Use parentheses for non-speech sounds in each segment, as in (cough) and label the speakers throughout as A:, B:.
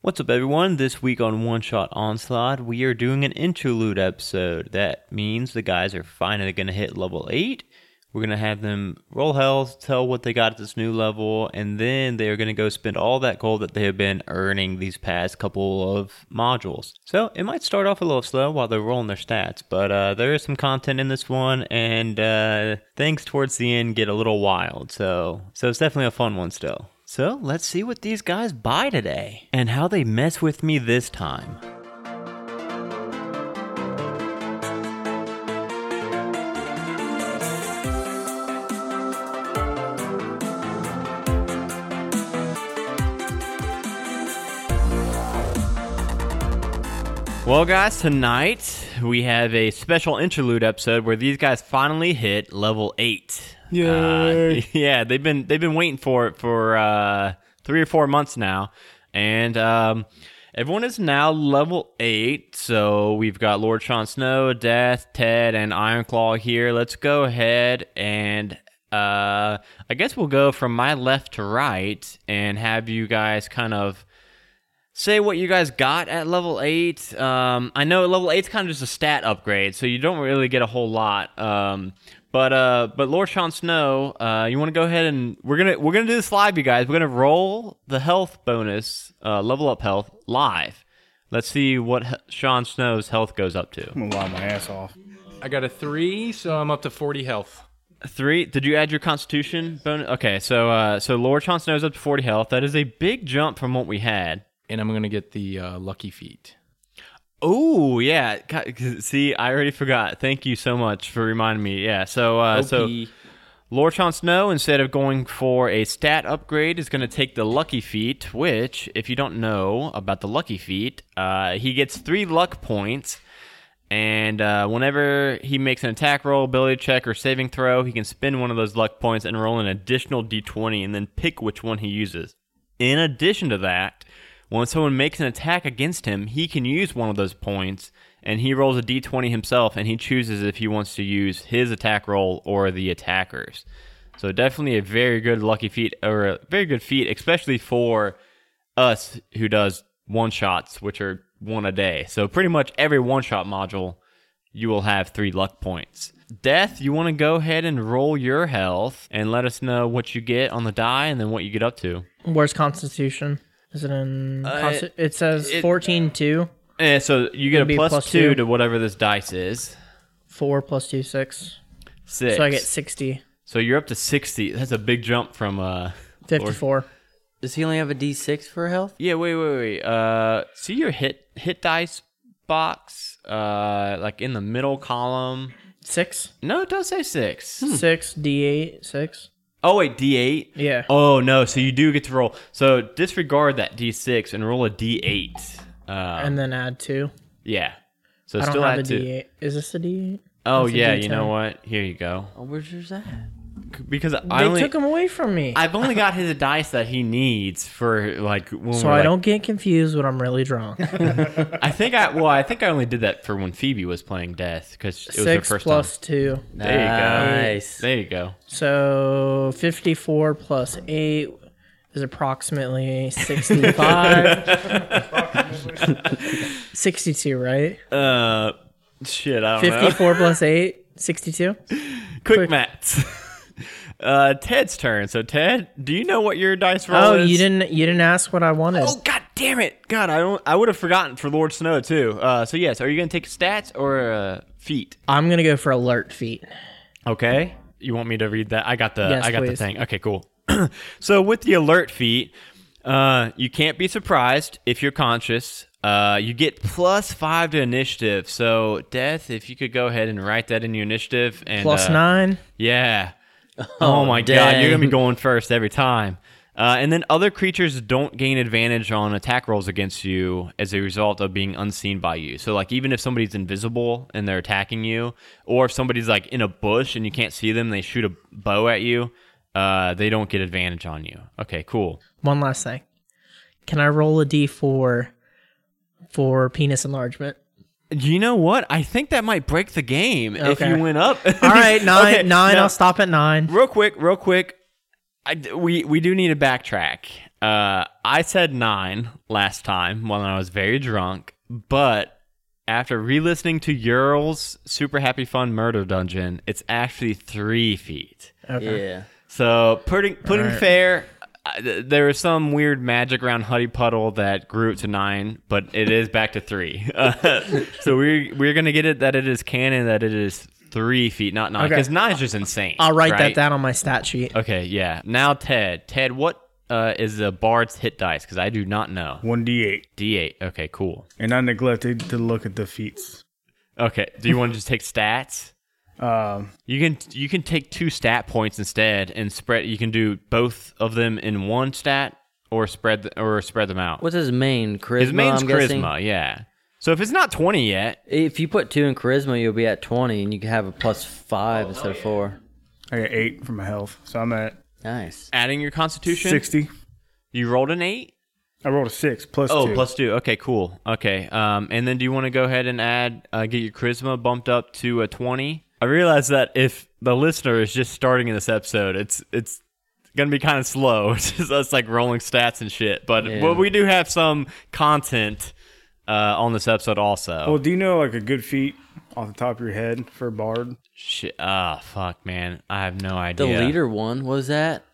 A: What's up, everyone? This week on One Shot Onslaught, we are doing an interlude episode. That means the guys are finally going to hit level 8. We're going to have them roll health, tell what they got at this new level, and then they are going to go spend all that gold that they have been earning these past couple of modules. So it might start off a little slow while they're rolling their stats, but uh, there is some content in this one, and uh, things towards the end get a little wild. So, so it's definitely a fun one still. So let's see what these guys buy today and how they mess with me this time. Well, guys, tonight we have a special interlude episode where these guys finally hit level eight.
B: Yay.
A: Uh, (laughs) yeah, they've been they've been waiting for it for uh, three or four months now, and um, everyone is now level eight. So we've got Lord Sean Snow, Death, Ted, and Ironclaw here. Let's go ahead and uh, I guess we'll go from my left to right and have you guys kind of say what you guys got at level 8 um, i know level 8's kind of just a stat upgrade so you don't really get a whole lot um, but uh, but lord sean snow uh, you want to go ahead and we're gonna we're gonna do this live you guys we're gonna roll the health bonus uh, level up health live let's see what he- sean snow's health goes up to
B: I'm gonna lie my ass off.
C: I got a three, so I'm up to 40 health.
A: Three? Did you add your Constitution bonus? Okay, so uh, so Lord Sean Snow's up to forty health. That is a big jump from what we had.
C: And I'm going to get the uh, lucky feet.
A: Oh yeah, God, 'cause- see, I already forgot. Thank you so much for reminding me. Yeah, so uh, so
C: OP.
A: Lord Sean Snow, instead of going for a stat upgrade, is going to take the Lucky Feat, which, if you don't know about the Lucky Feat, uh, he gets three luck points. And uh, whenever he makes an attack roll, ability check, or saving throw, he can spend one of those luck points and roll an additional d20 and then pick which one he uses. In addition to that, when someone makes an attack against him, he can use one of those points and he rolls a d20 himself and he chooses if he wants to use his attack roll or the attacker's. So definitely a very good lucky feat or a very good feat especially for us who does one shots which are one a day. So pretty much every one shot module you will have 3 luck points. Death, you want to go ahead and roll your health and let us know what you get on the die and then what you get up to.
D: Where's Constitution? Is it in?
A: Uh,
D: consti- it, says
A: it- uh,
D: 14 2,
A: Yeah, Eh, so you get a
D: It'd be
A: plus,
D: plus
A: two,
D: two.
A: to whatever this dice is.
D: 4 plus 2, 6.
A: Six.
D: So I get 60,
A: So you're up to sixty. That's a big jump from. uh
D: 54.
E: Does he only have a D6 for health?
A: Yeah, wait, wait, wait. Uh, see your hit hit dice box, uh, like in the middle column.
D: 6?
A: No, it does say six.
D: 6, D8, 6.
A: Oh wait, D eight.
D: Yeah.
A: Oh no, so you do get to roll. So disregard that D six and roll a D eight. Uh,
D: and then add 2.
A: yeah. So
D: I don't
A: still
D: have a
A: add 2
D: D8. Is this a D8?
A: Oh
D: That's a
A: yeah,
D: D10.
A: you know what? Here you go.
E: Oh, where's yours at?
A: Because I
D: They
A: only
D: took him away from me.
A: (laughs) I've only
D: (laughs)
A: got his dice that he needs for like. When
D: so
A: we're,
D: I
A: like-
D: don't get confused when I'm really
A: (laughs)
D: drunk.
A: I think I well, I think I only did that for when Phoebe was playing Death because it was her
D: 6
A: first
D: plus
A: time.
D: 2.
A: There you go.
E: Nice.
A: There you go.
D: So 54 plus 8 is
A: (laughs)
D: approximately 65. 62, right?
A: Uh, shit, I don't know.
D: 54 plus 8, 62.
A: Oh, Quick,
D: quick.
A: maths. (laughs) uh, Ted's turn. So Ted, do you know what your dice roll
D: Oh,
A: is?
D: you didn't you didn't ask what I wanted.
A: Oh god damn it! God, I don't. I would have forgotten for Lord Snow too. Uh, so yes, are you gonna take stats or uh, feet?
D: I'm going to go for alert feet.
A: Okay. You want me to read that? I got the
D: Yes,
A: I got the
D: please.
A: thing. Okay, cool. (clears throat) so with the alert feat, uh, you can't be surprised if you're conscious. Uh, you get plus five to initiative. So death, if you could go ahead and write that in your initiative and
D: Plus
A: uh,
D: 9. (laughs)
A: Yeah. Oh, my god, you're gonna be going first every time. Uh, and then other creatures don't gain advantage on attack rolls against you as a result of being unseen by you. So like even if somebody's invisible and they're attacking you, or if somebody's like in a bush and you can't see them, they shoot a bow at you. Uh, they don't get advantage on you. Okay, cool.
D: One last thing. Can I roll a d4 for
A: (laughs)
D: penis enlargement?
A: You know what? I think that might break the game if
D: Okay.
A: you went up.
D: All
A: (laughs)
D: right, 9
A: Okay,
D: 9.
A: now-
D: I'll stop at 9.
A: real quick, real quick. I d we we do need to backtrack. Uh, I said nine last time when I was very drunk, but after re-listening to Ural's Super Happy Fun Murder Dungeon, it's actually three feet.
D: Okay.
E: Yeah.
A: So putting putting
D: Alright.
A: fair, uh, th- there was some weird magic around Huddy Puddle that grew it to nine, but it is back to three. (laughs) so we're we're gonna get it that it is canon that it is three feet, not nine,
D: Okay.
A: because nine is just insane.
D: I'll write
A: right?
D: that down on my stat sheet.
A: Okay, yeah. Now Ted, Ted, what uh, is the bard's hit dice? Because I do not know.
B: 1d8.
A: D8. Okay, cool.
B: And I neglected to look at the feats.
A: Okay, do you want to just take stats?
B: Um,
A: You can you can take two stat points instead and spread. You can do both of them in one stat or spread th- or spread them out.
E: What's his main? Charisma.
A: His main's charisma,
E: I'm guessing?
A: yeah. So if it's not twenty yet,
E: If you put two in charisma, you'll be at twenty, and you can have a plus five instead of four.
B: I got 8 for my health. So I'm at
E: Nice.
A: adding your Constitution,
B: 60.
A: you rolled an eight.
B: I rolled a 6 plus
A: Oh,
B: 2.
A: plus two. Okay, cool. Okay, um, and then do you want to go ahead and add uh, get your charisma bumped up to a twenty? I realize that if the listener is just starting in this episode, it's it's gonna be kind of slow. (laughs) It's just us like rolling stats and shit. But
E: Yeah.
A: well, we do have some content uh, on this episode also.
B: Well, do you know like a good feat off the top of your head for Bard?
A: Shit. Ah, fuck, man. I have no
E: The
A: idea.
E: leader one what was that?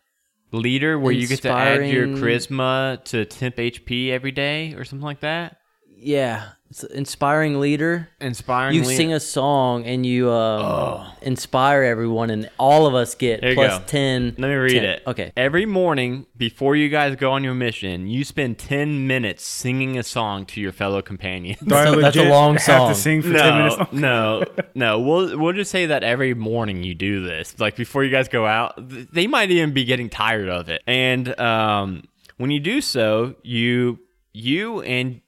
A: leader, where you get to add your
E: Inspiring-
A: charisma to temp HP every day or something like that.
E: Yeah, it's inspiring leader.
A: Inspiring.
E: You
A: leader.
E: sing a song and you um, inspire everyone, and all of us get
A: There you
E: plus
A: go.
E: ten.
A: Let me read
E: 10.
A: it.
E: Okay.
A: Every morning before you guys go on your mission, you spend 10 minutes singing a song to your fellow companions.
B: Do I
E: So that's a
B: legit
E: long
B: Have
E: song.
B: to sing for 10 minutes.
A: No, no, no. We'll we'll just say that every morning you do this, like before you guys go out. Th- They might even be getting tired of it. And um, when you do so, you you and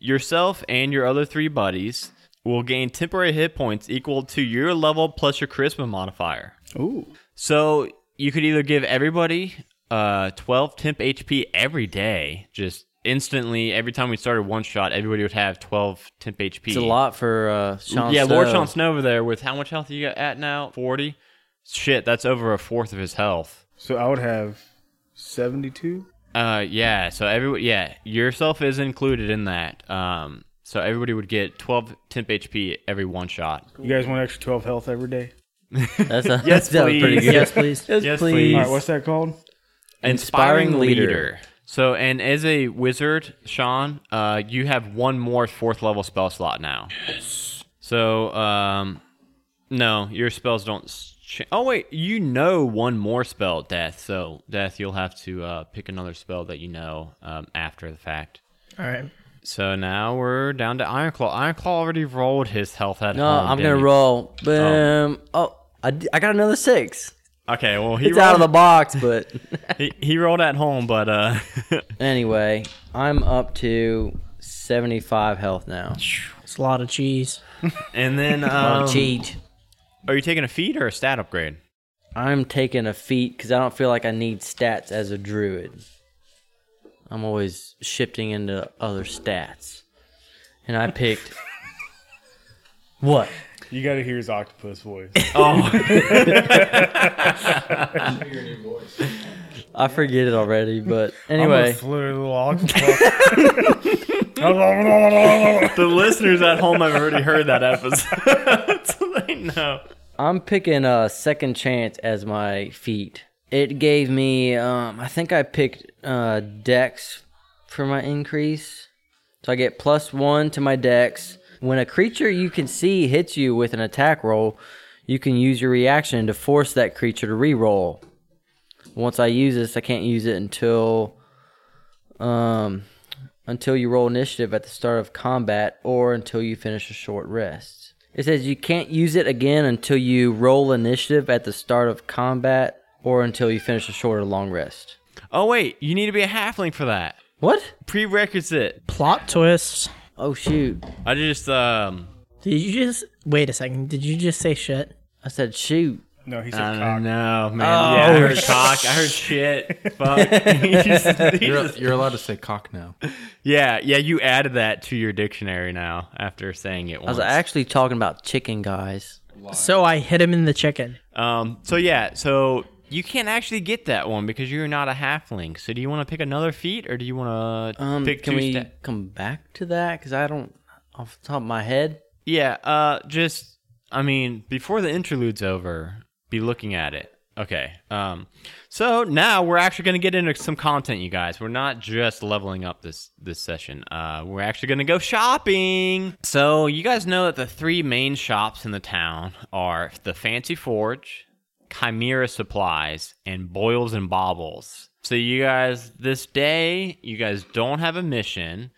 A: yourself and your other three buddies will gain temporary hit points equal to your level plus your charisma modifier.
B: Ooh.
A: So you could either give everybody uh 12 temp HP every day, just instantly every time we started one shot, everybody would have 12 temp HP.
E: It's a lot for uh, Sean.
A: yeah, Lord
E: Snow.
A: Sean Snow over there with how much health you got at now? 40. Shit, that's over a fourth of his health.
B: So I would have 72.
A: Uh yeah, so every yeah, yourself is included in that. Um so everybody would get 12 temp HP every one shot.
B: You guys want an extra 12 health every day?
E: That's (laughs) a,
A: Yes,
E: that was pretty
A: please.
E: good.
D: Yes, please.
A: Yes, please.
B: All right, what's that called?
A: inspiring,
E: Inspiring
A: leader.
E: leader.
A: So, and as a wizard, Sean, uh, you have one more fourth level spell slot now. Yes. So, um, no, your spells don't. s- Cha- oh wait, you know one more spell, death. So, death, you'll have to uh, pick another spell that you know um, after the fact.
D: All right.
A: So now we're down to Ironclaw. Ironclaw already rolled his health at
E: No,
A: home.
E: I'm
A: didn't
E: gonna
A: he?
E: roll. Boom. Oh, I, d- I got another six.
A: Okay, well he
E: It's
A: rolled,
E: out of the box, but
A: (laughs) he, he rolled at home, but uh, (laughs)
E: anyway, I'm up to 75 health now.
D: It's a lot of cheese.
A: and then
E: Oh,
A: um,
E: cheat.
A: are you taking a feat or a stat upgrade?
E: I'm taking a feat because I don't feel like I need stats as a druid. I'm always shifting into other stats, and I picked what?
B: You got to hear his octopus voice.
E: I forget it already, but
B: I'm a
E: anyway,
B: flirty little octopus.
A: the listeners at home have already heard that episode, (laughs) so they know.
E: I'm picking a uh, second chance as my feat. It gave me, um, I think I picked uh, Dex for my increase, so I get plus one to my Dex. When a creature you can see hits you with an attack roll, you can use your reaction to force that creature to re-roll. Once I use this, I can't use it until, um, until you roll initiative at the start of combat or until you finish a short rest. It says you can't use it again until you roll initiative at the start of combat or until you finish a short or long rest.
A: Oh wait, you need to be a halfling for that.
E: What?
A: Prerequisite.
D: Plot twist.
E: Oh shoot.
A: I just um.
D: Did you just wait a second? Did you just say shit?
E: I said shoot.
B: no, he
A: I
B: said cock.
A: don't know, man. yeah, I heard cock. I heard shit. (laughs) Fuck. He just- he
C: You're,
A: just-
C: you're allowed to say cock now.
A: yeah, yeah. You added that to your dictionary now after saying it
E: I was
A: once.
E: actually talking about chicken guys.
D: So I hit him in the chicken.
A: um. So yeah. So You can't actually get that one because you're not a halfling. So do you want to pick another feat or do you want to
E: Um,
A: pick
E: can
A: two
E: we
A: sta-
E: come back to that? Because I don't, off the top of my head.
A: Yeah, uh just I mean, before the interlude's over, be looking at it. Okay. Um so now we're actually going to get into some content you guys. We're not just leveling up this this session. Uh we're actually going to go shopping. So you guys know that the three main shops in the town are the Fancy Forge, Chimera Supplies, and Boils and Bobbles. So you guys this day, you guys don't have a mission.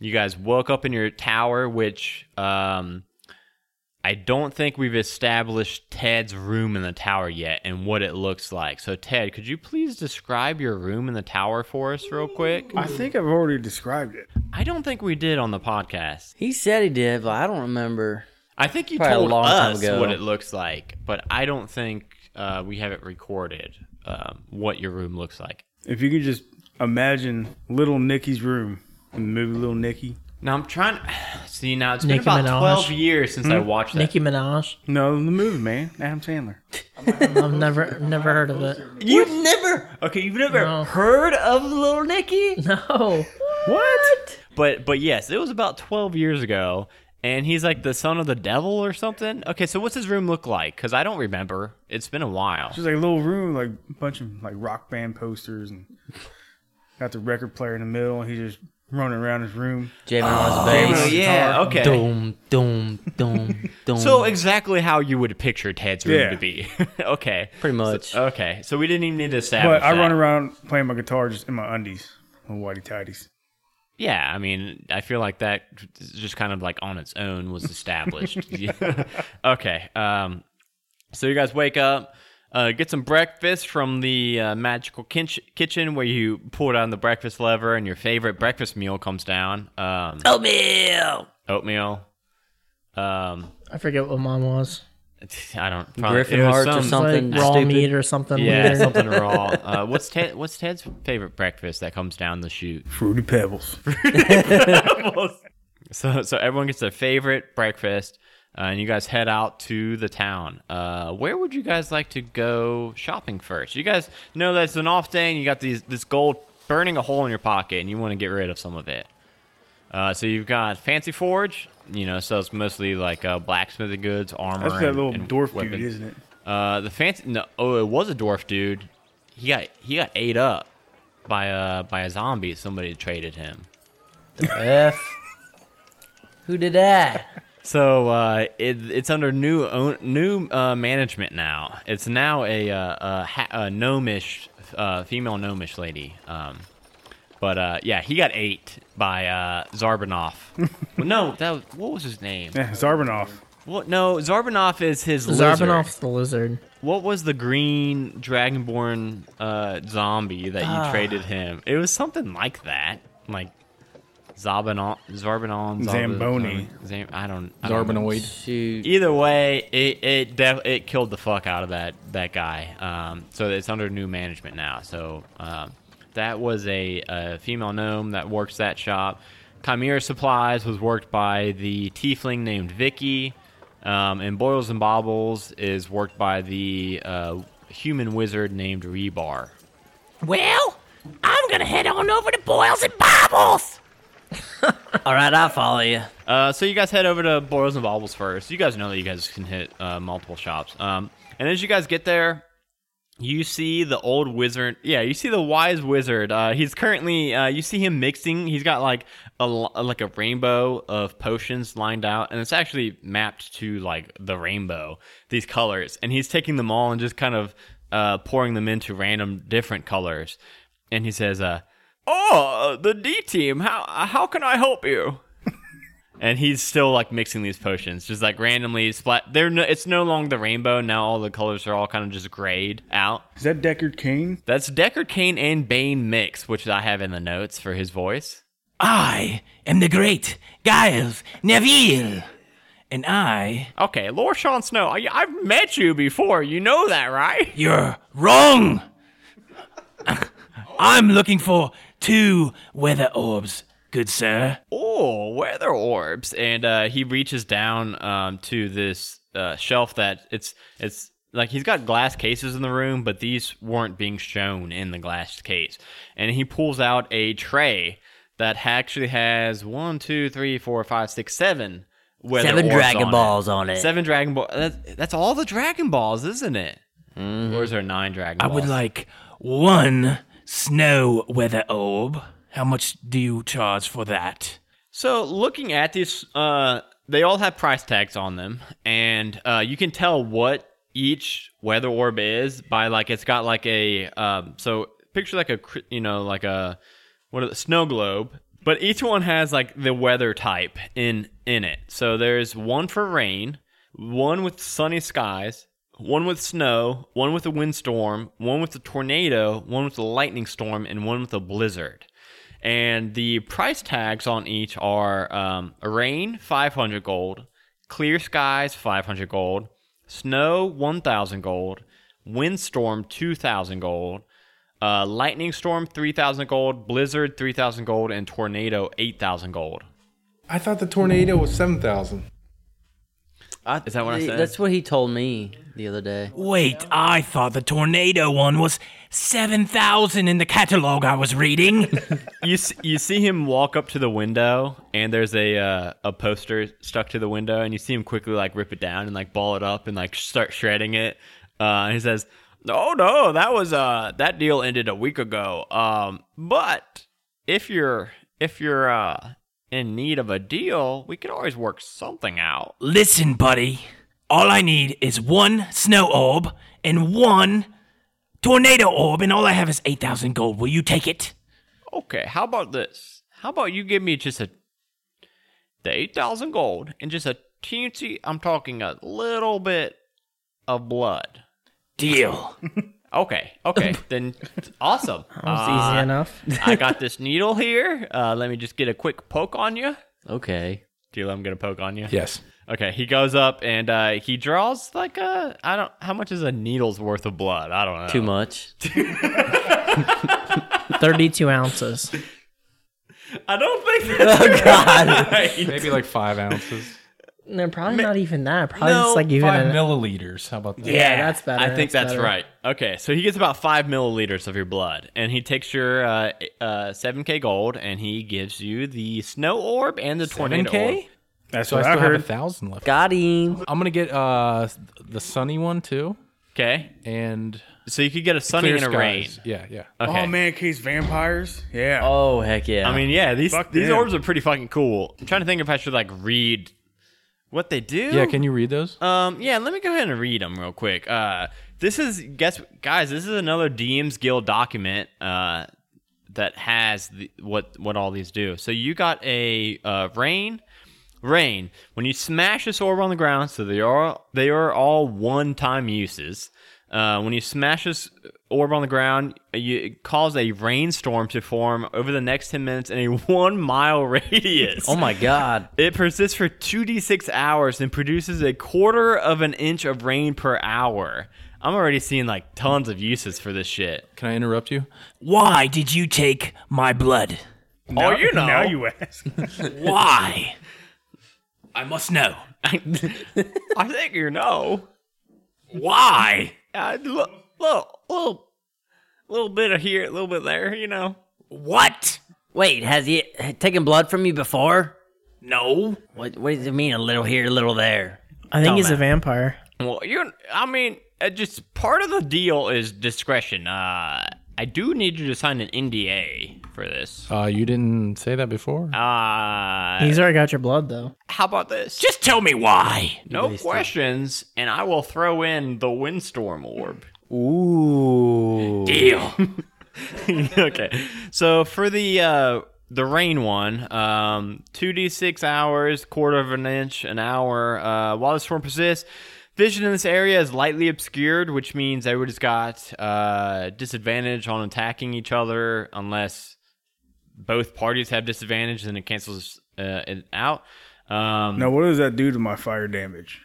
A: You guys woke up in your tower, which um, I don't think we've established Ted's room in the tower yet and what it looks like. So, Ted, could you please describe your room in the tower for us, real quick?
B: I think I've already described it.
A: I don't think we did on the podcast.
E: He said he did, but I don't remember.
A: I think you
E: Probably a
A: told
E: long time
A: us
E: ago.
A: what it looks like, but I don't think uh, we have it recorded um, what your room looks like.
B: If you could just imagine little Nicky's room in the movie Little Nicky.
A: Now I'm trying. (sighs) See, now it's
D: Nicki
A: been about
D: Minaj. Hmm?
A: 12 years since I watched that.
D: Nicki Minaj.
B: No, the movie, man. Adam Sandler.
D: I've never never heard of it. (laughs)
A: You've never okay. You've never
D: No.
A: heard of Little Nicky,
D: No.
B: What?
A: but but yes, it was about twelve years ago, and he's like the son of the devil or something. Okay, so what's his room look like? Because I don't remember. It's been a while.
B: Just like a little room, like a bunch of like rock band posters and got the record player in the middle and he's just running around his room.
E: Jamming on his
B: Oh,
E: bass.
A: yeah. Okay.
E: Doom, doom, doom, doom.
A: So exactly how you would picture Ted's room
B: Yeah.
A: to be. (laughs) okay.
E: pretty much.
A: Okay. So we didn't even need to establish.
B: But I
A: that.
B: run around playing my guitar just in my undies, my whitey tidies.
A: Yeah, I mean, I feel like that is just kind of like on its own was
E: (laughs)
A: established. (laughs) Yeah. okay. Um, so you guys wake up, uh, get some breakfast from the uh, magical kinch- kitchen where you pull down the breakfast lever and your favorite breakfast meal comes down. Um,
E: Oatmeal.
A: oatmeal. Um,
D: I forget what mine was.
A: I don't.
E: Griffin
A: it was
E: hearts or
A: some-
D: It's
E: Something
D: like raw
E: stupid.
D: meat or something.
A: Yeah,
D: weird.
A: something
E: (laughs)
A: raw. Uh, what's Ted? What's Ted's favorite breakfast that comes down the chute?
B: Fruity Pebbles.
A: So, (laughs) so everyone gets their favorite breakfast, uh, and you guys head out to the town. Uh, where would you guys like to go shopping first? You guys know that it's an off day, and you got these this gold burning a hole in your pocket, and you want to get rid of some of it. Uh, so you've got Fancy Forge, you know, sells mostly like uh, blacksmithing goods, armor.
B: That's that
A: and-
B: little
A: and
B: dwarf dude,
A: weapons.
B: isn't it?
A: Uh, the fancy no, oh, it was a dwarf dude. He got he got ate up by a by a zombie. Somebody traded him.
E: F. Who did that?
A: So uh, it, it's under new own, new uh, management now. It's now a, uh, a, ha- a gnomish uh, female gnomish lady. Um, but uh, yeah, he got ate by uh,
B: (laughs)
A: Zarbanoff. well, no, that was, what was his name?
B: Yeah, Zarbanoff.
A: Well, no, Zarbanoff is his lizard.
D: Zarbanoff's the lizard.
A: What was the green dragonborn uh, zombie that you
B: Ah.
A: traded him? It was something like that, like Zabanon, Zarbanon, Zab-
B: Zamboni.
A: Zam- I don't. I don't know.
C: Zarbanoid.
E: Shoot.
A: Either way, it it def- it killed the fuck out of that that guy. Um, so it's under new management now. So um, that was a, a female gnome that works that shop. Chimera Supplies was worked by the tiefling named Vicky, um, and Boils and Bobbles is worked by the uh, human wizard named Rebar.
E: Well, I'm gonna head on over to Boils and Bobbles. (laughs) All right, I'll follow you.
A: Uh, so you guys head over to Boils and Bobbles first. You guys know that you guys can hit uh, multiple shops. Um, and as you guys get there, you see the old wizard. Yeah, you see the wise wizard. Uh, he's currently. Uh, you see him mixing. He's got like a l- like a rainbow of potions lined out, and it's actually mapped to like the rainbow. These colors, and he's taking them all and just kind of uh, pouring them into random different colors. And he says, uh, "Oh, the D team. How how can I help you?" and he's still like mixing these potions, just like randomly splat. They're no, it's no longer the rainbow now. All the colors are all kind of just grayed out.
B: Is that Deckard Kane?
A: That's Deckard Kane and Bane mix, which I have in the notes for his voice.
F: I am the great Giles Neville, and I.
A: Okay, Lord Sean Snow, I, I've met you before. You know that, right?
F: You're wrong! (laughs) I'm looking for two weather orbs, good sir.
A: Oh, weather orbs, and uh, he reaches down um, to this uh, shelf that it's it's like he's got glass cases in the room, but these weren't being shown in the glass case. And he pulls out a tray that actually has one, two, three, four, five, six, seven. weather
E: Seven
A: orbs
E: Dragon
A: on it.
E: Balls on it.
A: Seven Dragon Ball. That's, that's all the Dragon Balls, isn't it?
E: Mm-hmm.
A: Or is there nine Dragon
F: I
A: Balls?
F: would like one snow weather orb. How much do you charge for that?
A: So looking at these, uh, they all have price tags on them, and uh, you can tell what each weather orb is by like it's got like a um, so picture like a cr- you know like a what a snow globe, but each one has like the weather type in in it. So there's one for rain, one with sunny skies, one with snow, one with a windstorm, one with a tornado, one with a lightning storm, and one with a blizzard and the price tags on each are um, rain 500 gold clear skies 500 gold snow 1000 gold windstorm 2000 gold uh, lightning storm 3000 gold blizzard 3000 gold and tornado 8000 gold
C: I thought the tornado was 7,000.
A: is that what i said
E: That's what he told me the other day.
F: Wait, I thought the tornado one was 7,000 in the catalog I was reading.
A: you see, you see him walk up to the window and there's a uh, a poster stuck to the window and you see him quickly like rip it down and like ball it up and like start shredding it. Uh, and he says, "Oh no, that was uh that deal ended a week ago. Um, but if you're if you're uh in need of a deal, we could always work something out."
F: Listen, buddy. All I need is one snow orb and one tornado orb, and all I have is 8,000 gold. Will you take it?
A: Okay, how about this? How about you give me just a the eight thousand gold and just a teensy I'm talking a little bit of blood.
F: Deal.
A: Okay,
D: (laughs)
A: okay, then awesome.
D: That was
A: Uh,
D: easy enough. (laughs)
A: I got this needle here. Uh, let me just get a quick poke on you.
E: Okay.
A: Deal, I'm gonna poke on you.
C: Yes.
A: Okay, he goes up and uh, he draws like a I don't how much is a needle's worth of blood? I don't know.
E: Too much.
D: 32 ounces.
A: I don't
D: (laughs)
A: think that's (laughs)
D: Oh,
C: Maybe like five ounces.
D: No, probably not even that. Probably just like even
C: five
D: an,
C: milliliters. How about that?
D: yeah, that's better.
A: I think that's
D: better.
A: right. Okay, so he gets about five milliliters of your blood, and he takes your uh, uh, 7K gold, and he gives you the snow orb and the tornado orb.
C: k
B: That's
C: So I
B: what I,
C: still have a
B: heard.
C: thousand left.
E: Got him.
C: I'm gonna get uh the sunny one too,
A: Okay,
C: and
A: so you could get a sunny
C: clear
A: and a rain.
C: skies. Yeah, yeah. Uh,
A: Okay.
B: Oh man, case vampires. Yeah.
E: Oh heck yeah.
A: I mean, yeah, these
B: Fuck
A: these
B: them.
A: orbs are pretty fucking cool. I'm trying to think if I should like read what they do.
C: Yeah, can you read those?
A: Um, yeah, let me go ahead and read them real quick. Uh, this is guess guys, this is another DM's Guild document. Uh, that has the, what what all these do. So you got a uh, rain, rain. When you smash this orb on the ground, so they are they are all one time uses. Uh, when you smash this orb on the ground, you it cause a rainstorm to form over the next ten minutes in a (laughs) one mile radius.
E: oh my god.
A: It persists for 2d6 hours and produces a quarter of an inch of rain per hour. I'm already seeing like tons of uses for this shit.
C: Can I interrupt you?
F: Why did you take my blood?
A: oh, you know. (laughs)
B: (laughs) Now you ask.
F: Why? I must know.
A: I think you know. (laughs)
F: Why?
A: A little, little, little, little bit of here, a little bit there, you know.
F: What?
E: Wait, has he taken blood from you before?
F: No.
E: What what does it mean? A little here, a little there.
D: I think he's a vampire.
A: Well, you. I mean, it just part of the deal is discretion. Uh, I do need you to sign an NDA for this.
C: Uh, you didn't say that before.
A: Uh,
D: He's already got your blood though.
A: how about this?
F: Just tell me why.
A: no questions, and I will throw in the windstorm orb.
F: Deal.
A: (laughs) okay. So for the uh, the rain one, um, two d six hours, quarter of an inch, an hour. Uh, while the storm persists, vision in this area is lightly obscured, which means everybody's got uh, disadvantage on attacking each other unless both parties have disadvantage. Then it cancels uh, it out. Um,
B: now what does that do to my fire damage?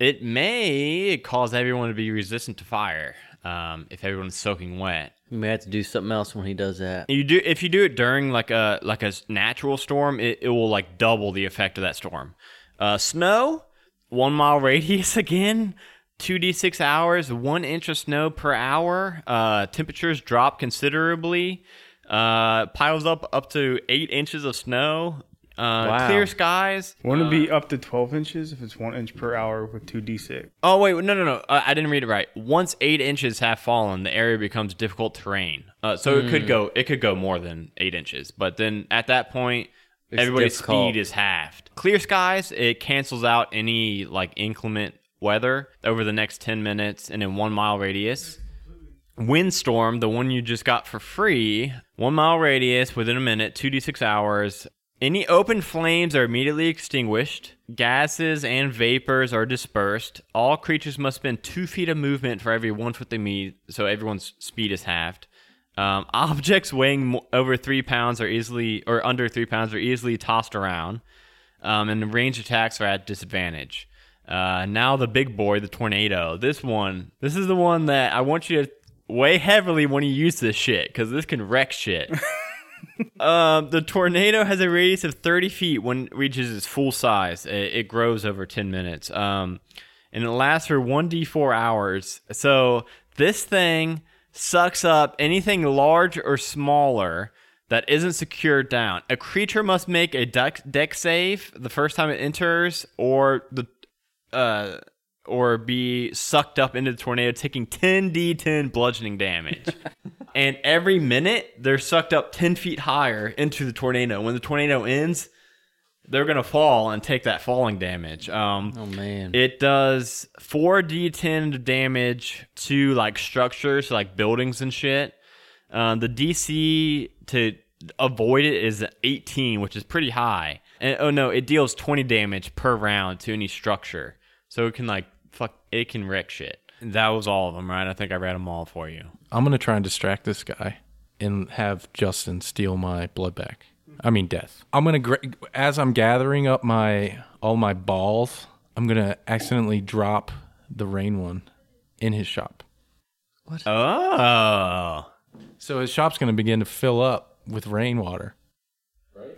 A: It may cause everyone to be resistant to fire um, if everyone's soaking wet.
E: You may have to do something else when he does that.
A: You do if you do it during like a like a s- natural storm, it, it will like double the effect of that storm. Uh, snow, one mile (laughs) radius again. 2d6 hours, one inch of snow per hour. Uh, temperatures drop considerably, uh, piles up up to eight inches of snow. Uh, Clear skies.
B: Wouldn't it be up to 12 inches if it's one inch per hour with two d6?
A: Oh wait, no, no, no. Uh, I didn't read it right. Once eight inches have fallen, the area becomes difficult terrain. Uh, so it could go, it could go more than eight inches. But then at that point, everybody's
E: difficult.
A: speed is halved. Clear skies, it cancels out any like inclement weather over the next ten minutes and in one mile radius. Windstorm, the one you just got for free, one mile radius within a minute, 2d6 hours. Any open flames are immediately extinguished. Gases and vapors are dispersed. All creatures must spend two feet of movement for every one foot they meet, so everyone's speed is halved. Um, (laughs) objects weighing mo- over three pounds are easily, or under three pounds, are easily tossed around, um, and range attacks are at disadvantage. Uh, now the big boy, the tornado. This one, this is the one that I want you to weigh heavily when you use this shit, because this can wreck shit. (laughs) Um, the tornado has a radius of 30 feet when it reaches its full size. It, it grows over 10 minutes. Um, and it lasts for 1d4 hours. So this thing sucks up anything large or smaller that isn't secured down. A creature must make a deck, deck save the first time it enters, or the uh, or be sucked up into the tornado, taking 10d10 bludgeoning damage. and every minute, they're sucked up 10 feet higher into the tornado. When the tornado ends, they're going to fall and take that falling damage. Um,
E: Oh man.
A: it does 4d10 damage to like structures, like buildings and shit. Um, the DC to avoid it is 18, which is pretty high. And oh no, it deals 20 damage per round to any structure. So it can like fuck, it can wreck shit. That was all of them, right? I think I read them all for you.
C: I'm gonna try and distract this guy and have Justin steal my blood back. I mean death. I'm gonna gra- as I'm gathering up my all my balls. I'm gonna accidentally drop the rain one in his shop.
A: Oh.
C: So his shop's gonna begin to fill up with rainwater.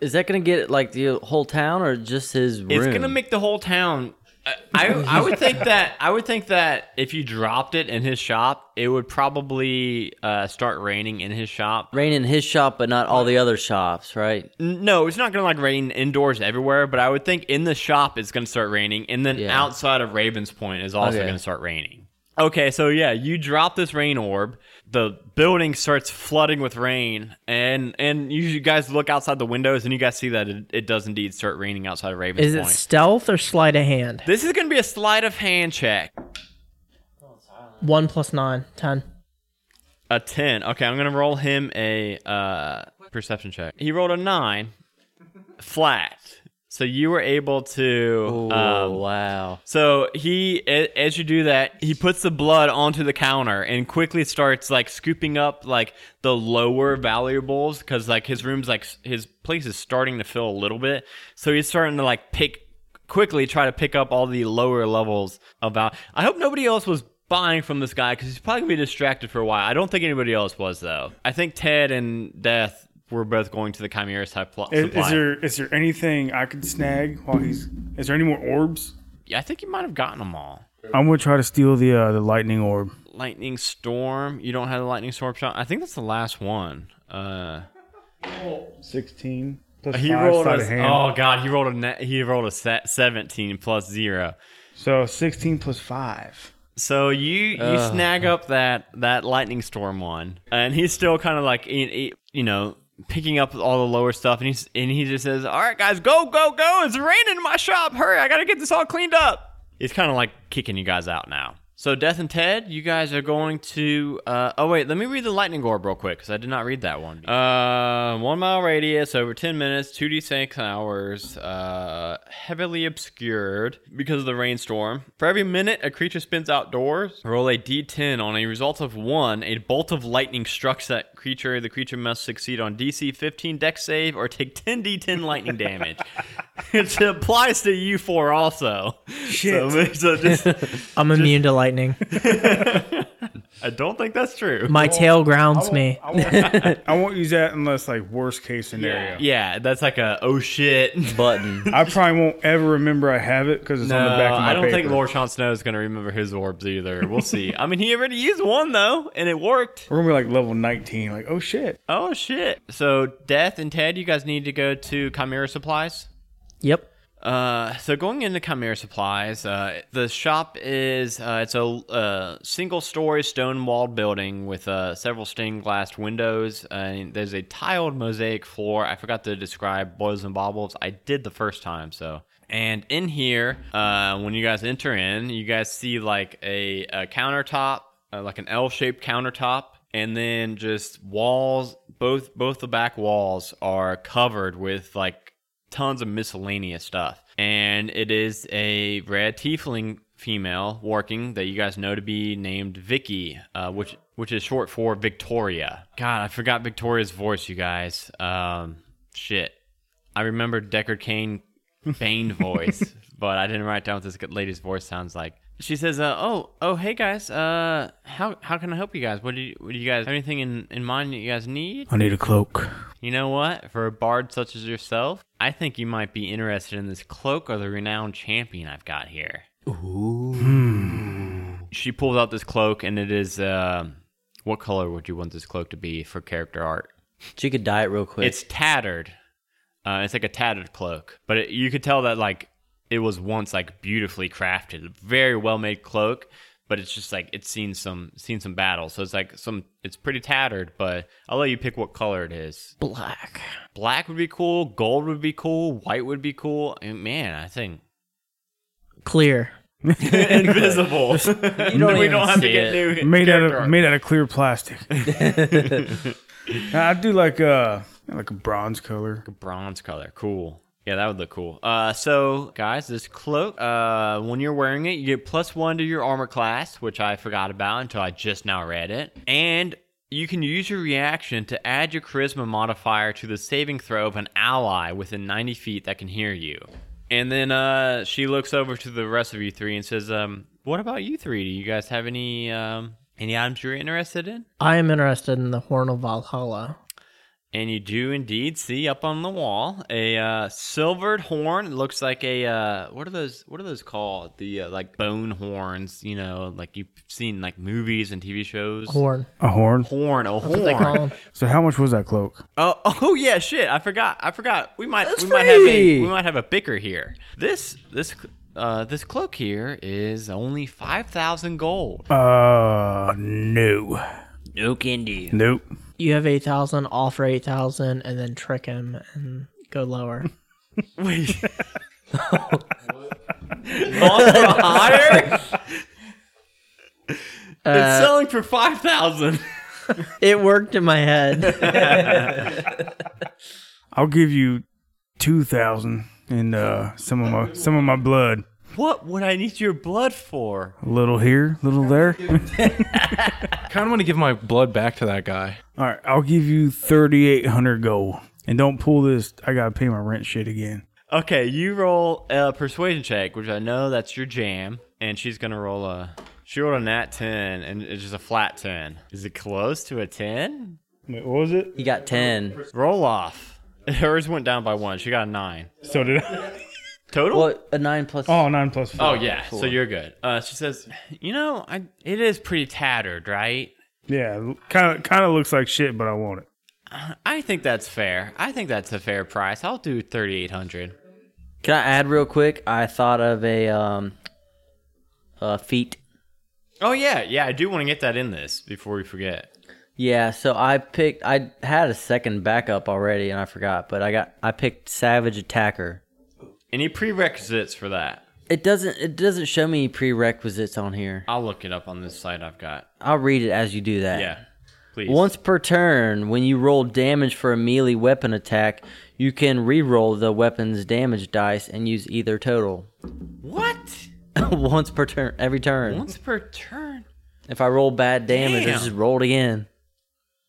E: Is that gonna get like the whole town or just his room?
A: It's gonna make the whole town. I, I I would think that I would think that if you dropped it in his shop, it would probably uh, start raining in his shop.
E: rain in his shop, but not all the other shops, right?
A: N- No, it's not gonna like rain indoors everywhere, but I would think in the shop it's gonna start raining, and then
E: Yeah.
A: outside of Ravens Point is also
E: Okay.
A: gonna start raining. Okay, so yeah, you drop this rain orb. The building starts flooding with rain, and and you guys look outside the windows, and you guys see that it, it does indeed start raining outside of Ravens
D: Is it
A: Point.
D: stealth or sleight of hand?
A: this is gonna be a sleight of hand check.
D: One plus nine, ten.
A: A ten. Okay, I'm gonna roll him a uh, perception check. He rolled a nine, flat. So you were able to.
E: oh
A: um,
E: wow.
A: so he, a- as you do that, he puts the blood onto the counter and quickly starts like scooping up like the lower valuables because like his room's like s- his place is starting to fill a little bit. So he's starting to like pick quickly, try to pick up all the lower levels of val. I hope nobody else was buying from this guy because he's probably gonna be distracted for a while. I don't think anybody else was though. I think Ted and Death were both going to the Chimera's type pl-
B: Is,
A: supply.
B: is there is there anything I could snag while he's? Is there any more orbs?
A: I think you might have gotten them all.
B: I'm gonna try to steal the uh, the lightning orb.
A: lightning storm. You don't have the lightning storm shot. I think that's the last one. Uh,
B: Sixteen plus
A: he
B: five
A: rolled
B: sleight
A: a
B: of hand.
A: oh god, he rolled a net, he rolled a se- seventeen plus zero.
B: So sixteen plus five.
A: So you you snag up that that lightning storm one, and he's still kind of like he- he- you know picking up all the lower stuff, and he's and he just says, "All right, guys, go go go! It's raining in my shop. Hurry, I gotta get this all cleaned up." He's kind of like kicking you guys out now. So Death and Ted, you guys are going to. Uh, oh wait, let me read the lightning orb real quick because I did not read that one. Uh, one mile radius over ten minutes, two d six hours. Uh, heavily obscured because of the rainstorm. For every minute a creature spends outdoors, roll a d10. On a result of one, a bolt of lightning strikes that creature. The creature must succeed on DC 15 deck save or take 10 d10 (laughs) lightning damage. it applies to you four also. Shit. So, so just (laughs)
D: I'm immune to lightning.
A: I don't think that's true.
D: My tail grounds me.
B: I won't, I won't use that unless like worst case scenario.
A: Yeah, that's like a oh (laughs) shit.
E: Button.
B: I probably won't ever remember I have it because it's on the back
A: No,
B: of my
A: I don't
B: paper.
A: think Lord Sean Snow is going to remember his orbs either. We'll see. I mean, he already used one though, and it worked.
B: We're gonna be like level nineteen. Like oh shit.
A: Oh shit! So Death and Ted, you guys need to go to Chimera Supplies.
D: Yep.
A: Uh, so going into Chimera Supplies, uh, the shop is uh, it's a uh, single-story stone-walled building with uh, several stained glass windows. And there's a tiled mosaic floor. I forgot to describe boils and bobbles. I did the first time, so. And in here, uh, when you guys enter in, you guys see like a, a countertop, uh, like an L-shaped countertop and then just walls both both the back walls are covered with like tons of miscellaneous stuff and it is a red tiefling female working that you guys know to be named Vicky uh, which which is short for Victoria god I forgot Victoria's voice you guys um shit I remember Deckard Kane Bane voice, but I didn't write down what this good lady's voice sounds like. She says, uh, "Oh, oh, hey guys, uh, how how can I help you guys? What do you, what do you guys have anything in, in mind that you guys need?
B: I need a cloak.
A: You know what? For a bard such as yourself, I think you might be interested in this cloak of the renowned champion I've got here." Ooh. She pulls out this cloak, and it is uh, what color would you want this cloak to be for character art?
E: She could dye it real quick.
A: It's tattered. Uh, it's like a tattered cloak, but it, you could tell that like it was once like beautifully crafted, very well made cloak. But it's just like it's seen some seen some battles, so it's like some it's pretty tattered. But I'll let you pick what color it is.
D: Black.
A: Black would be cool, gold would be cool, white would be cool. And man, I think
D: Clear.
A: invisible. we don't have to
E: see
A: get new
B: Made out
A: character
B: of
A: art.
B: made out of
A: (laughs)
B: clear plastic. (laughs) I do like uh like a bronze color.
A: bronze color. Cool. Yeah, that would look cool. Uh, so guys, this cloak, uh, when you're wearing it, you get plus one to your armor class, which I forgot about until I just now read it, and you can use your reaction to add your charisma modifier to the saving throw of an ally within 90 feet that can hear you. And then uh, she looks over to the rest of you three and says, um, "What about you three? Do you guys have any um, any items you're interested in?"
D: I am interested in the Horn of Valhalla.
A: And you do indeed see up on the wall a uh, silvered horn. It looks like a uh, what are those? What are those called? The uh, like bone horns, you know, like you've seen like movies and TV shows.
D: Horn.
B: A horn.
A: Horn, a
D: What they call
A: horn.
D: 'em.
B: So how much was that cloak?
A: Oh, oh yeah, shit! I forgot. I forgot. We might we might have a
E: free.
A: we might have a bicker here. This this uh, this cloak here is only five thousand gold.
B: Uh no.
E: no candy.
B: Nope.
D: You have 8,000, offer 8,000, and then trick him and go lower.
A: Wait. Offer (laughs) higher?
E: Uh,
A: it's selling for five thousand.
D: it worked in my
E: (laughs)
D: head.
B: I'll give you two thousand and uh some of my some of my blood.
A: What would I need your blood for?
B: A little here, a little there. (laughs)
C: kind of want to give my blood back to that guy.
B: All right, I'll give you thirty eight hundred gold. And don't pull this. I gotta pay my rent shit again.
A: Okay, you roll a persuasion check, which I know that's your jam, and she's gonna roll a. She rolled a nat ten, and it's just a flat ten. Is it close to a ten?
B: Wait, what was it?
E: He got ten.
A: Roll off. (laughs) Hers went down by one. She got a nine
B: So did I. (laughs)
A: total.
E: What? A nine plus.
B: Oh, nine plus
A: Oh
B: four.
A: yeah, so you're good. Uh, she says, "You know, I, it is pretty tattered, right?
B: Yeah, kind of kind of looks like shit, but I want it. (laughs)
A: I think that's fair. I think that's a fair price. I'll do thirty eight hundred.
E: Can I add real quick? I thought of a um, uh, feet.
A: Oh yeah, yeah. I do want to get that in this before we forget.
E: Yeah, so I picked. I had a second backup already, and I forgot. But I got. I picked Savage Attacker.
A: Any prerequisites for that?
E: It doesn't. It doesn't show me prerequisites on here.
A: I'll look it up on this site I've got.
E: I'll read it as you do that.
A: Yeah, please.
E: Once per turn, when you roll damage for a melee weapon attack, you can re-roll the weapon's damage dice and use either total. (laughs)
A: what?
E: Once per turn, every turn.
A: Once per turn.
E: If I roll bad damage,
A: Damn.
E: I just roll it again.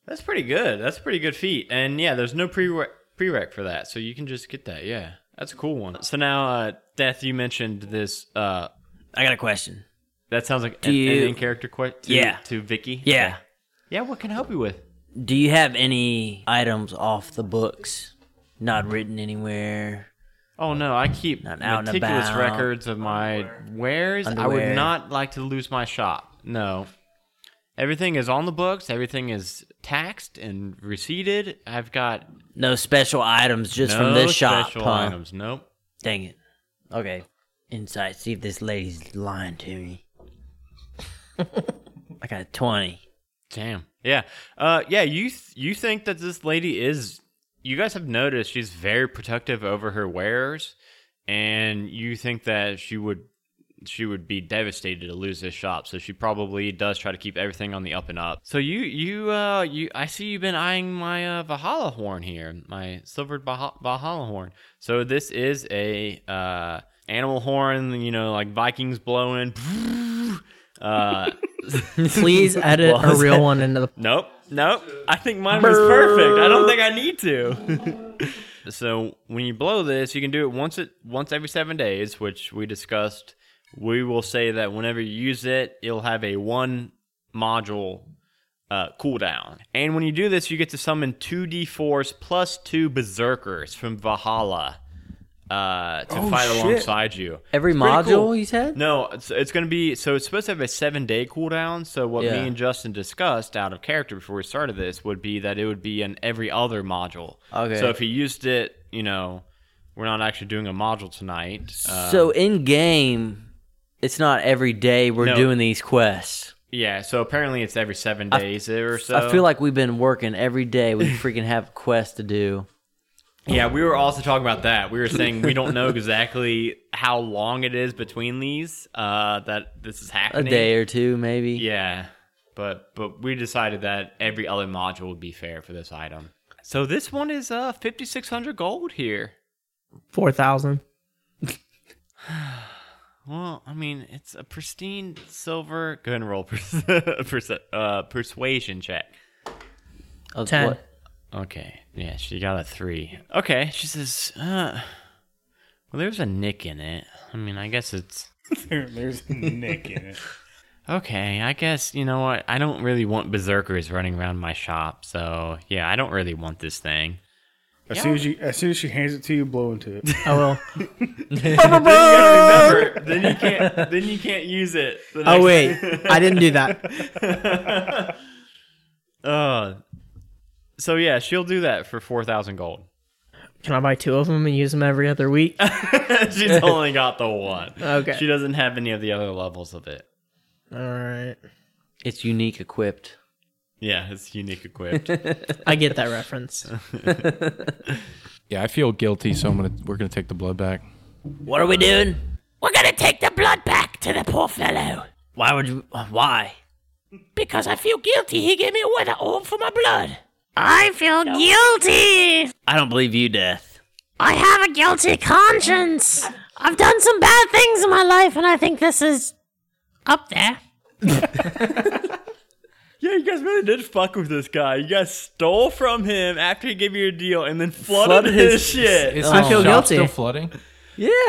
A: That's pretty good. That's a pretty good feat. And yeah, there's no prere prereq for that, so you can just get that. Yeah, that's a cool one. So now, uh, Death, you mentioned this. Uh,
E: I got a question.
A: That sounds like
E: Do
A: an, an
E: you-
A: in-character question.
E: Yeah.
A: To Vicky.
E: Yeah.
A: Yeah. What can I help you with?
E: Do you have any items off the books? Not written anywhere.
A: Oh no, I keep
E: Not out and
A: meticulous
E: about.
A: records of my wares. I
E: Underwear.
A: would not like to lose my shop. No. Everything is on the books. Everything is taxed and receipted. I've got
E: No special items just
A: no
E: from this shop.
A: special
E: huh?
A: items. Nope.
E: Dang it. Okay. Insight. See if this lady's lying to (laughs) me. I got a 20.
A: Damn. Yeah. Uh. Yeah. You th- you think that this lady is? You guys have noticed she's very protective over her wares, and you think that she would she would be devastated to lose this shop. So she probably does try to keep everything on the up and up. So you you uh you I see you've been eyeing my uh, Valhalla horn here, my silvered Valha- Valhalla horn. So this is a uh animal horn. You know, like Vikings blowing. (laughs) Uh.
D: Please edit
E: What
D: a
E: was
D: real
E: that?
D: one into the.
A: Nope. Nope. I think mine was perfect. I don't think I need to. (laughs) so when you blow this, you can do it once it once every seven days, which we discussed. We will say that whenever you use it, it'll have a one module uh, cooldown. And when you do this, you get to summon two D4s plus two berserkers from Valhalla uh, to fight alongside you.
E: Every module, you said?
A: No, it's, it's going to be so it's supposed to have a seven day cooldown. So what
E: Yeah.
A: me and Justin discussed out of character before we started this would be that it would be in every other module.
E: Okay.
A: So if he used it, you know, we're not actually doing a module tonight. Uh,
E: so in game, it's not every day we're
A: No.
E: doing these quests.
A: yeah. So apparently it's every seven days or so.
E: I feel like we've been working every day. We (laughs) freaking have quests to do.
A: Yeah, we were also talking about that. We were saying we don't
E: (laughs)
A: know exactly how long it is between these. Uh, that this is
E: A
A: happening.
E: day or two, maybe.
A: Yeah, but but we decided that every other module would be fair for this item. So this one is uh 5600 gold here.
D: 4,000.
A: Well, I mean, it's a pristine silver. Go ahead and roll pers- (laughs) pers- uh, persuasion check.
E: Uh,
D: 10.
E: what-
A: Okay, yeah, she got a three. Okay, she says, uh, well, there's a nick in it. I mean, I guess it's
B: There- There's a Nick in it.
A: Okay, I guess you know what. I don't really want berserkers running around my shop, so yeah, I don't really want this thing.
B: As soon as you, as soon as she hands it to you, blow into it.
D: I will.
A: Remember, then you can't. Then you can't use it. The
D: Oh,
A: next-
D: (laughs) wait. I didn't do that.
A: Uh, so yeah, she'll do that for four thousand gold. (laughs)
D: Can I buy two of them and use them every other
E: (laughs)
D: week?
A: She's only got the one.
D: Okay.
A: She doesn't have any of the other levels of it.
D: All right.
E: (laughs) It's unique equipped.
A: Yeah, it's unique equipped.
D: I get that
E: (laughs)
D: reference.
C: Yeah, I feel guilty, so I'm gonna we're gonna take the blood back.
E: What are we doing?
F: We're gonna take the blood back to the poor fellow
E: Why would you? uh, Why?
F: because I feel guilty. He gave me a weather orb for my blood. I feel guilty.
E: I don't believe you, Death.
G: I have a guilty conscience. I've done some bad things in my life, and I think this is up there.
A: yeah, you guys really did fuck with this guy. You guys stole from him after he gave you a deal, and then flooded,
E: Flooded
A: his,
E: his-
A: shit.
D: I feel guilty.
C: Still flooding.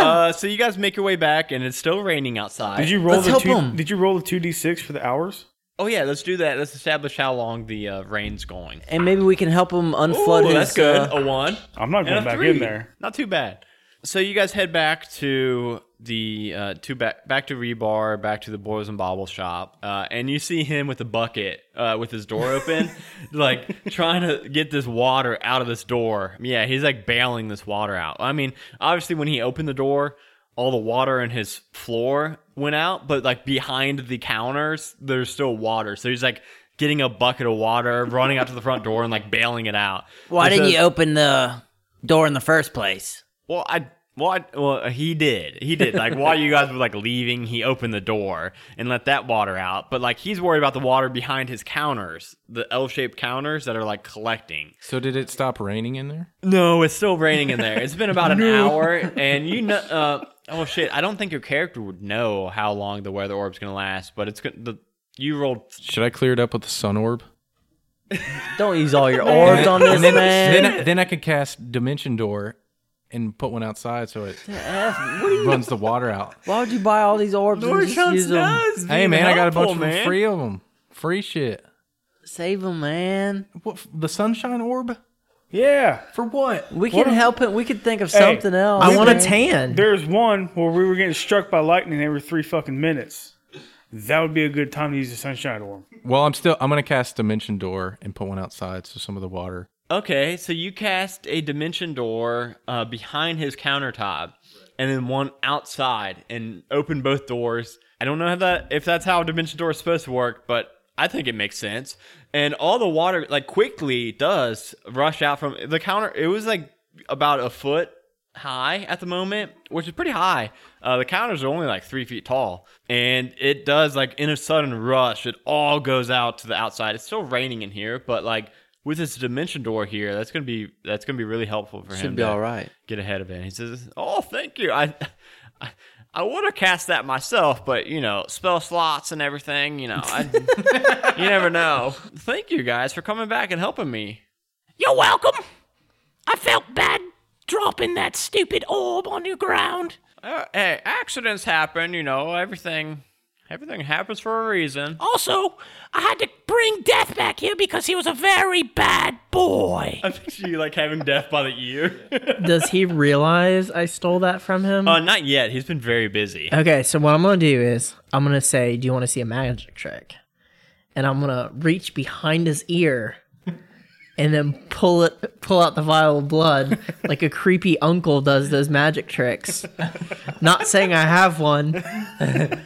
A: Uh, so you guys make your way back, and it's still raining outside.
B: Did you roll
E: Let's
B: the
E: help
B: two?
E: him.
B: Did you roll the two d six for the hours?
A: oh yeah, let's do that. Let's establish how long the uh, rain's going.
E: And maybe we can help him unflood
A: Ooh,
E: his.
A: that's good.
E: uh,
A: a one
B: I'm
A: and
B: not going
A: a
B: back
A: three.
B: in there.
A: Not too bad. So you guys head back to the uh, to back back to rebar, back to the boys and bobble shop, uh, and you see him with a bucket uh, with his door open, (laughs) like trying to get this water out of this door. Yeah, he's like bailing this water out. I mean, obviously when he opened the door, all the water in his floor went out, but like behind the counters, there's still water. So he's like getting a bucket of water, running out to the front door, and like bailing it out.
E: Why
A: It
E: didn't
A: says-
E: you open the door in the first place?
A: Well, I well, I, well, he did. He did. Like while you guys were like leaving, he opened the door and let that water out. But like he's worried about the water behind his counters, the L-shaped counters that are like collecting.
C: So did it stop raining in there?
A: No, it's still raining in there. It's been about (laughs) an hour, and you know. Uh, oh shit! I don't think your character would know how long the weather orb's gonna last, but it's gonna. The, you rolled.
C: Should I clear it up with the sun orb?
E: Don't use all your orbs on this
C: then,
E: man.
C: then I, then I could cast dimension door, and put one outside so it runs
E: (laughs)
C: the water out.
E: Why would you buy all these orbs and just use them?
C: Hey man, I got a bunch
A: helpful,
C: of them,
A: man.
C: free of them, free shit.
E: Save them, man.
C: What f- the sunshine orb
B: Yeah.
C: for what?
E: We can help him. We could think of
B: Hey,
E: something else.
D: I want a tan.
B: There's one where we were getting struck by lightning every three fucking minutes. That would be a good time to use the sunshine orb.
C: Well, I'm still I'm gonna cast Dimension Door and put one outside so some of the water.
A: Okay, so you cast a dimension door uh, behind his countertop, and then one outside, and open both doors. I don't know how that if that's how a dimension door is supposed to work, but I think it makes sense. And all the water like quickly does rush out from the counter. It was like about a foot high at the moment, which is pretty high. Uh, the counters are only like three feet tall, and it does like in a sudden rush, it all goes out to the outside. It's still raining in here, but like with this dimension door here, that's gonna be that's gonna be really helpful for him.
E: Should be
A: to
E: all right.
A: Get ahead of it. He says, "Oh, thank you. I." I I would have cast that myself, but you know, spell slots and everything, you know, I, (laughs) you never know. Thank you guys for coming back and helping me.
F: You're welcome. I felt bad dropping that stupid orb on the ground.
A: Uh, hey, accidents happen, you know, everything everything happens for a reason. (laughs)
F: Also, I had to bring Death back here because he was a very bad boy.
A: I picture you like having death by the ear.
D: Does he realize I stole that from him?
A: (laughs) uh, not yet. He's been very busy.
D: Okay, so what I'm gonna do is I'm gonna say, "Do you want to see a magic trick?" And I'm gonna reach behind his ear, and then pull it, pull out the vial of blood, like a creepy uncle does those magic tricks. Not saying I have one. Do you have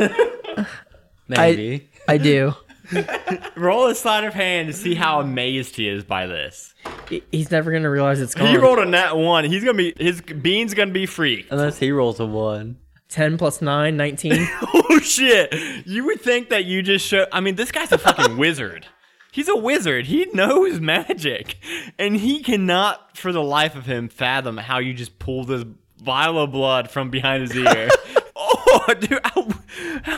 D: one?
E: Maybe.
D: I, I do.
A: Roll a sleight of hand to see how amazed he is by this. Oh.
D: He- He's never gonna realize it's gone.
A: He rolled a nat one. He's gonna be his bean's gonna be free.
E: Unless he rolls a one.
D: 10 plus 9, 19.
A: oh shit! You would think that you just show. I mean, this guy's a fucking wizard. He's a wizard. He knows magic, and he cannot, for the life of him, fathom how you just pull this vial of blood from behind his ear. oh, dude, how, how,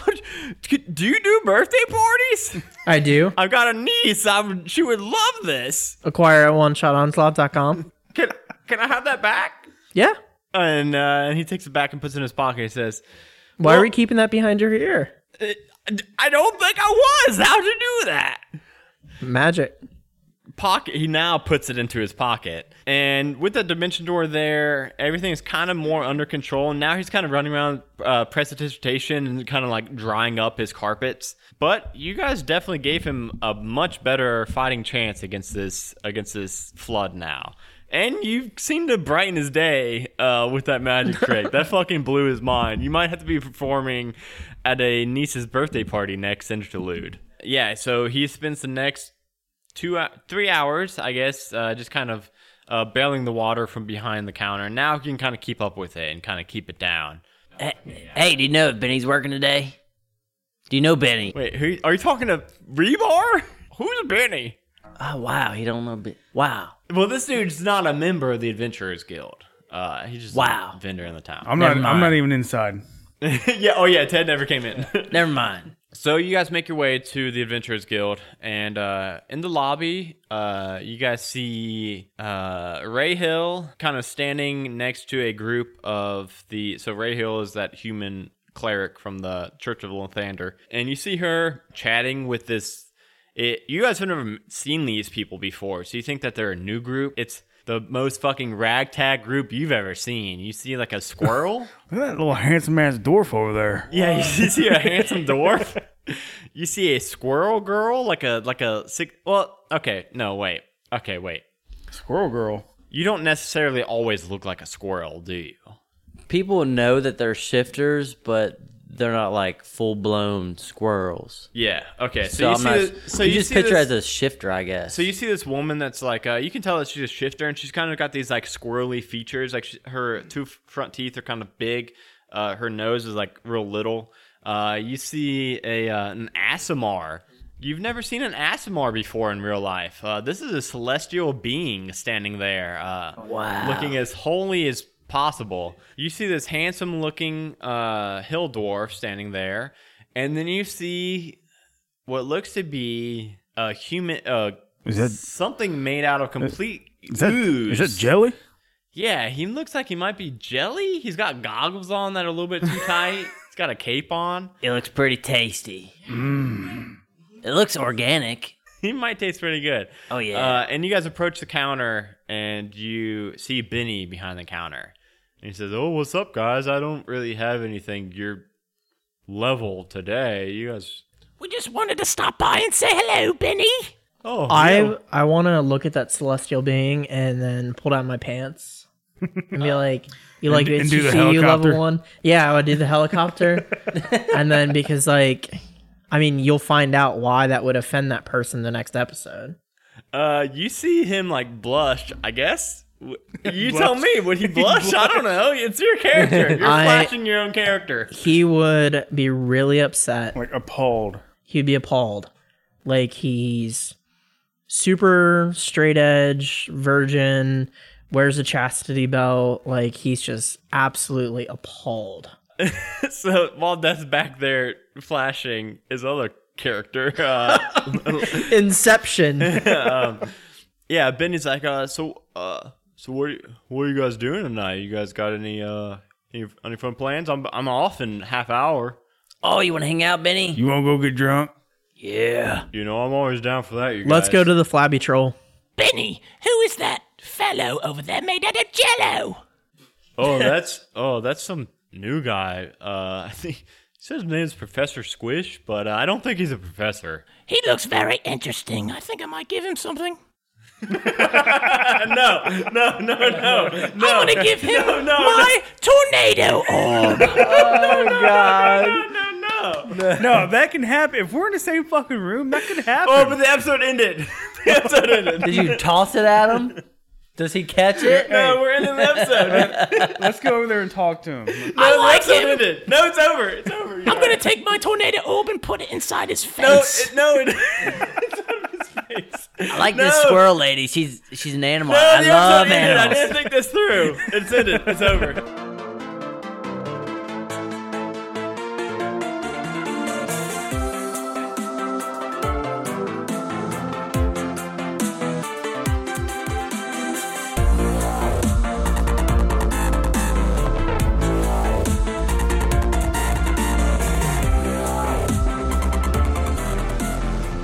A: do you do birthday parties?
D: I do.
A: I've got a niece. I would, she would love this.
D: Acquire at one shot onslaught.com.
A: Can can I have that back?
D: Yeah.
A: And uh, and he takes it back and puts it in his pocket. He says,
D: Why are we keeping that behind your ear?
A: "I I don't think I was. How'd you do that?"
D: Magic.
A: pocket he now puts it into his pocket and with the dimension door there everything is kind of more under control and now he's kind of running around uh, precipitation and kind of like drying up his carpets but you guys definitely gave him a much better fighting chance against this against this flood now and you seem to brighten his day uh, with that magic trick. That fucking blew his mind. You might have to be performing at a niece's birthday party next interlude. Yeah, so he spends the next two hou- three hours i guess uh, just kind of uh, bailing the water from behind the counter now he can kind of keep up with it and kind of keep it down
E: Hey, do you know if Benny's working today? Do you know Benny?
A: wait who are you talking to rebar (laughs) who's benny
E: Oh wow, he don't know. Ben- wow,
A: well this dude's not a member of the adventurers guild uh, he's just
E: Wow.
A: a vendor in the town
B: I'm not. I'm not even inside.
A: (laughs) yeah oh yeah ted never came in (laughs)
E: never mind.
A: So you guys make your way to the Adventurers Guild, and uh, in the lobby, uh, you guys see uh, Ray Hill kind of standing next to a group of the. So Ray Hill is that human cleric from the Church of Lothander, and you see her chatting with this. It, you guys have never seen these people before, so you think that they're a new group. It's the most fucking ragtag group you've ever seen. You see like a squirrel.
B: Look at that little handsome ass dwarf over there.
A: Yeah,
E: Um,
A: you see
E: (laughs)
A: a handsome dwarf. You see a squirrel girl, like a like a six. Well, okay, no, wait, okay, wait.
B: Squirrel girl.
A: You don't necessarily always look like a squirrel, do you?
E: People know that they're shifters, but they're not like full blown squirrels.
A: Yeah. Okay. So,
E: So,
A: you
E: I'm
A: see.
E: not.
A: the- so
E: you,
A: you,
E: just
A: see
E: picture
A: this-
E: as a shifter, I guess.
A: So you see this woman that's like, uh, you can tell that she's a shifter, and she's kind of got these like squirrely features. Like she, her two f- front teeth are kind of big. Uh, her nose is like real little. Uh, you see a uh, an Asimar. You've never seen an Asimar before in real life. Uh, this is a celestial being standing there, uh,
E: Wow.
A: looking as holy as possible. You see this handsome looking uh, hill dwarf standing there, and then you see what looks to be a human, uh,
B: Is that Uh,
A: something made out of complete
B: Is that, is that jelly?
A: Yeah, he looks like he might be jelly. He's got goggles on that are a little bit too
B: (laughs)
A: tight. He's got a cape on.
F: It looks pretty tasty. Mmm. It looks organic.
A: He might taste pretty good.
F: Oh, yeah.
A: Uh, and you guys approach the counter and you see Benny behind the counter. And he says, "Oh, what's up, guys? I don't really have anything your level today. You guys."
F: We just wanted to stop by and say hello, Benny.
A: Oh,
D: I I want to look at that celestial being and then pull down my pants and
B: (laughs)
D: be like, "You like
B: and
D: it?
B: do
D: You
B: the
D: see you
B: helicopter.
D: level one? Yeah, I would do
B: (laughs)
D: the helicopter, and then because like, I mean, you'll find out why that would offend that person the next episode.
A: Uh, you see him like blush. I guess
D: (laughs)
A: W- you tell me. Would he blush? I don't know. It's your
D: (laughs)
A: character. You're
D: I-
A: flashing your own character. (laughs)
D: He would be really upset.
B: Like appalled.
D: He'd be appalled, like he's super straight edge virgin, wears a chastity belt. Like he's just absolutely appalled.
A: So while Death's back there flashing his other character, (laughs) uh,
D: Inception.
A: yeah, Benny's like, uh, so, uh, so what? Are you, what are you guys doing tonight? You guys got any, uh, any, any fun plans? I'm, I'm off in half hour.
E: Oh, you want to hang out, Benny?
B: You won't go get drunk?
E: Yeah.
A: You know, I'm always down for that. You
D: Let's
A: guys.
D: go to the flabby troll.
F: Benny, who is that fellow over there made out of jello?
A: (laughs) Oh, that's oh, that's some new guy. Uh, (laughs) I think he says his name's Professor Squish, but uh, I don't think he's a professor.
F: He looks very interesting. I think I might give him something.
A: no, no, no, no, no.
F: I'm gonna give him my
A: (laughs)
F: tornado orb.
A: Oh,
B: No, that can happen. If we're in the same fucking room, that could happen.
A: Oh, but the episode ended. (laughs) The episode ended.
E: (laughs) Did you toss it at him? Does he catch it?
A: No, we're ending the episode.
B: Let's go over there and talk to him.
A: No,
F: I
A: the
F: like
A: episode
F: him.
A: ended. No, it's over. It's over. (laughs)
F: I'm gonna take my tornado orb and put it inside his
A: No,
F: face.
A: it, no, it, it's out of his face.
E: I like this
A: No.
E: squirrel lady. She's she's an animal.
A: No,
E: I
A: the
E: love
A: episode ended. I
E: animals.
A: didn't think this through. It's ended. It's over.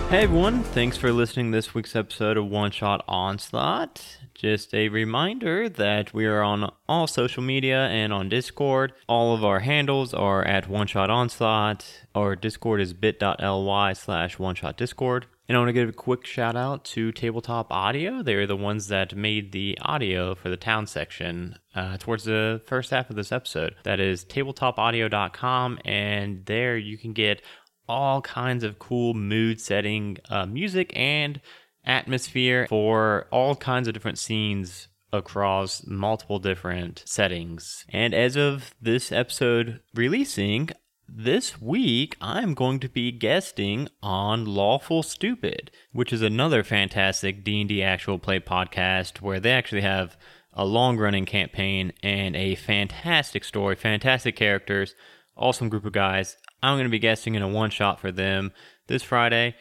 A: Hey everyone, thanks for listening to this week's episode of One Shot Onslaught. Just a reminder that we are on all social media and on Discord. All of our handles are at One Shot Onslaught. Our Discord is bit.ly slash one shot discord. And I want to give a quick shout out to Tabletop Audio. They are the ones that made the audio for the town section uh, towards the first half of this episode. That is tabletopaudio.com, and there you can get all kinds of cool mood setting uh, music and atmosphere for all kinds of different scenes across multiple different settings. And as of this episode releasing, this week I'm going to be guesting on Lawful Stupid, which is another fantastic D&D actual play podcast where they actually have a long-running campaign and a fantastic story, fantastic characters, awesome group of guys. I'm going to be guesting in a one shot for them this Friday.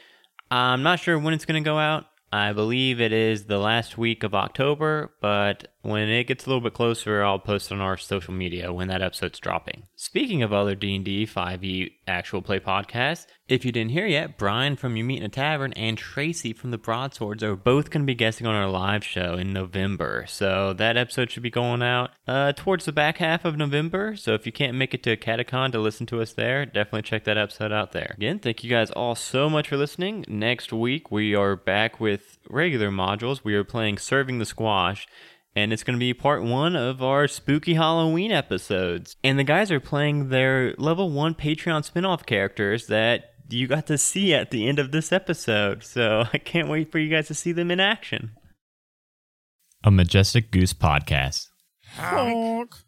A: I'm not sure when it's going to go out. I believe it is the last week of October, but when it gets a little bit closer, I'll post on our social media when that episode's dropping. Speaking of other D&D 5e E actual play podcasts, if you didn't hear yet, Brian from You Meet in a Tavern and Tracy from The Broadswords are both going to be guesting on our live show in November. So that episode should be going out uh, towards the back half of November. So if you can't make it to Catacon to listen to us there, definitely check that episode out there. Again, thank you guys all so much for listening. Next week, we are back with regular modules. We are playing Serving the Squash. And it's going to be part one of our spooky Halloween episodes. And the guys are playing their level one Patreon spinoff characters that you got to see at the end of this episode. So (laughs) I can't wait for you guys to see them in action. A Majestic Goose Podcast.
G: Honk.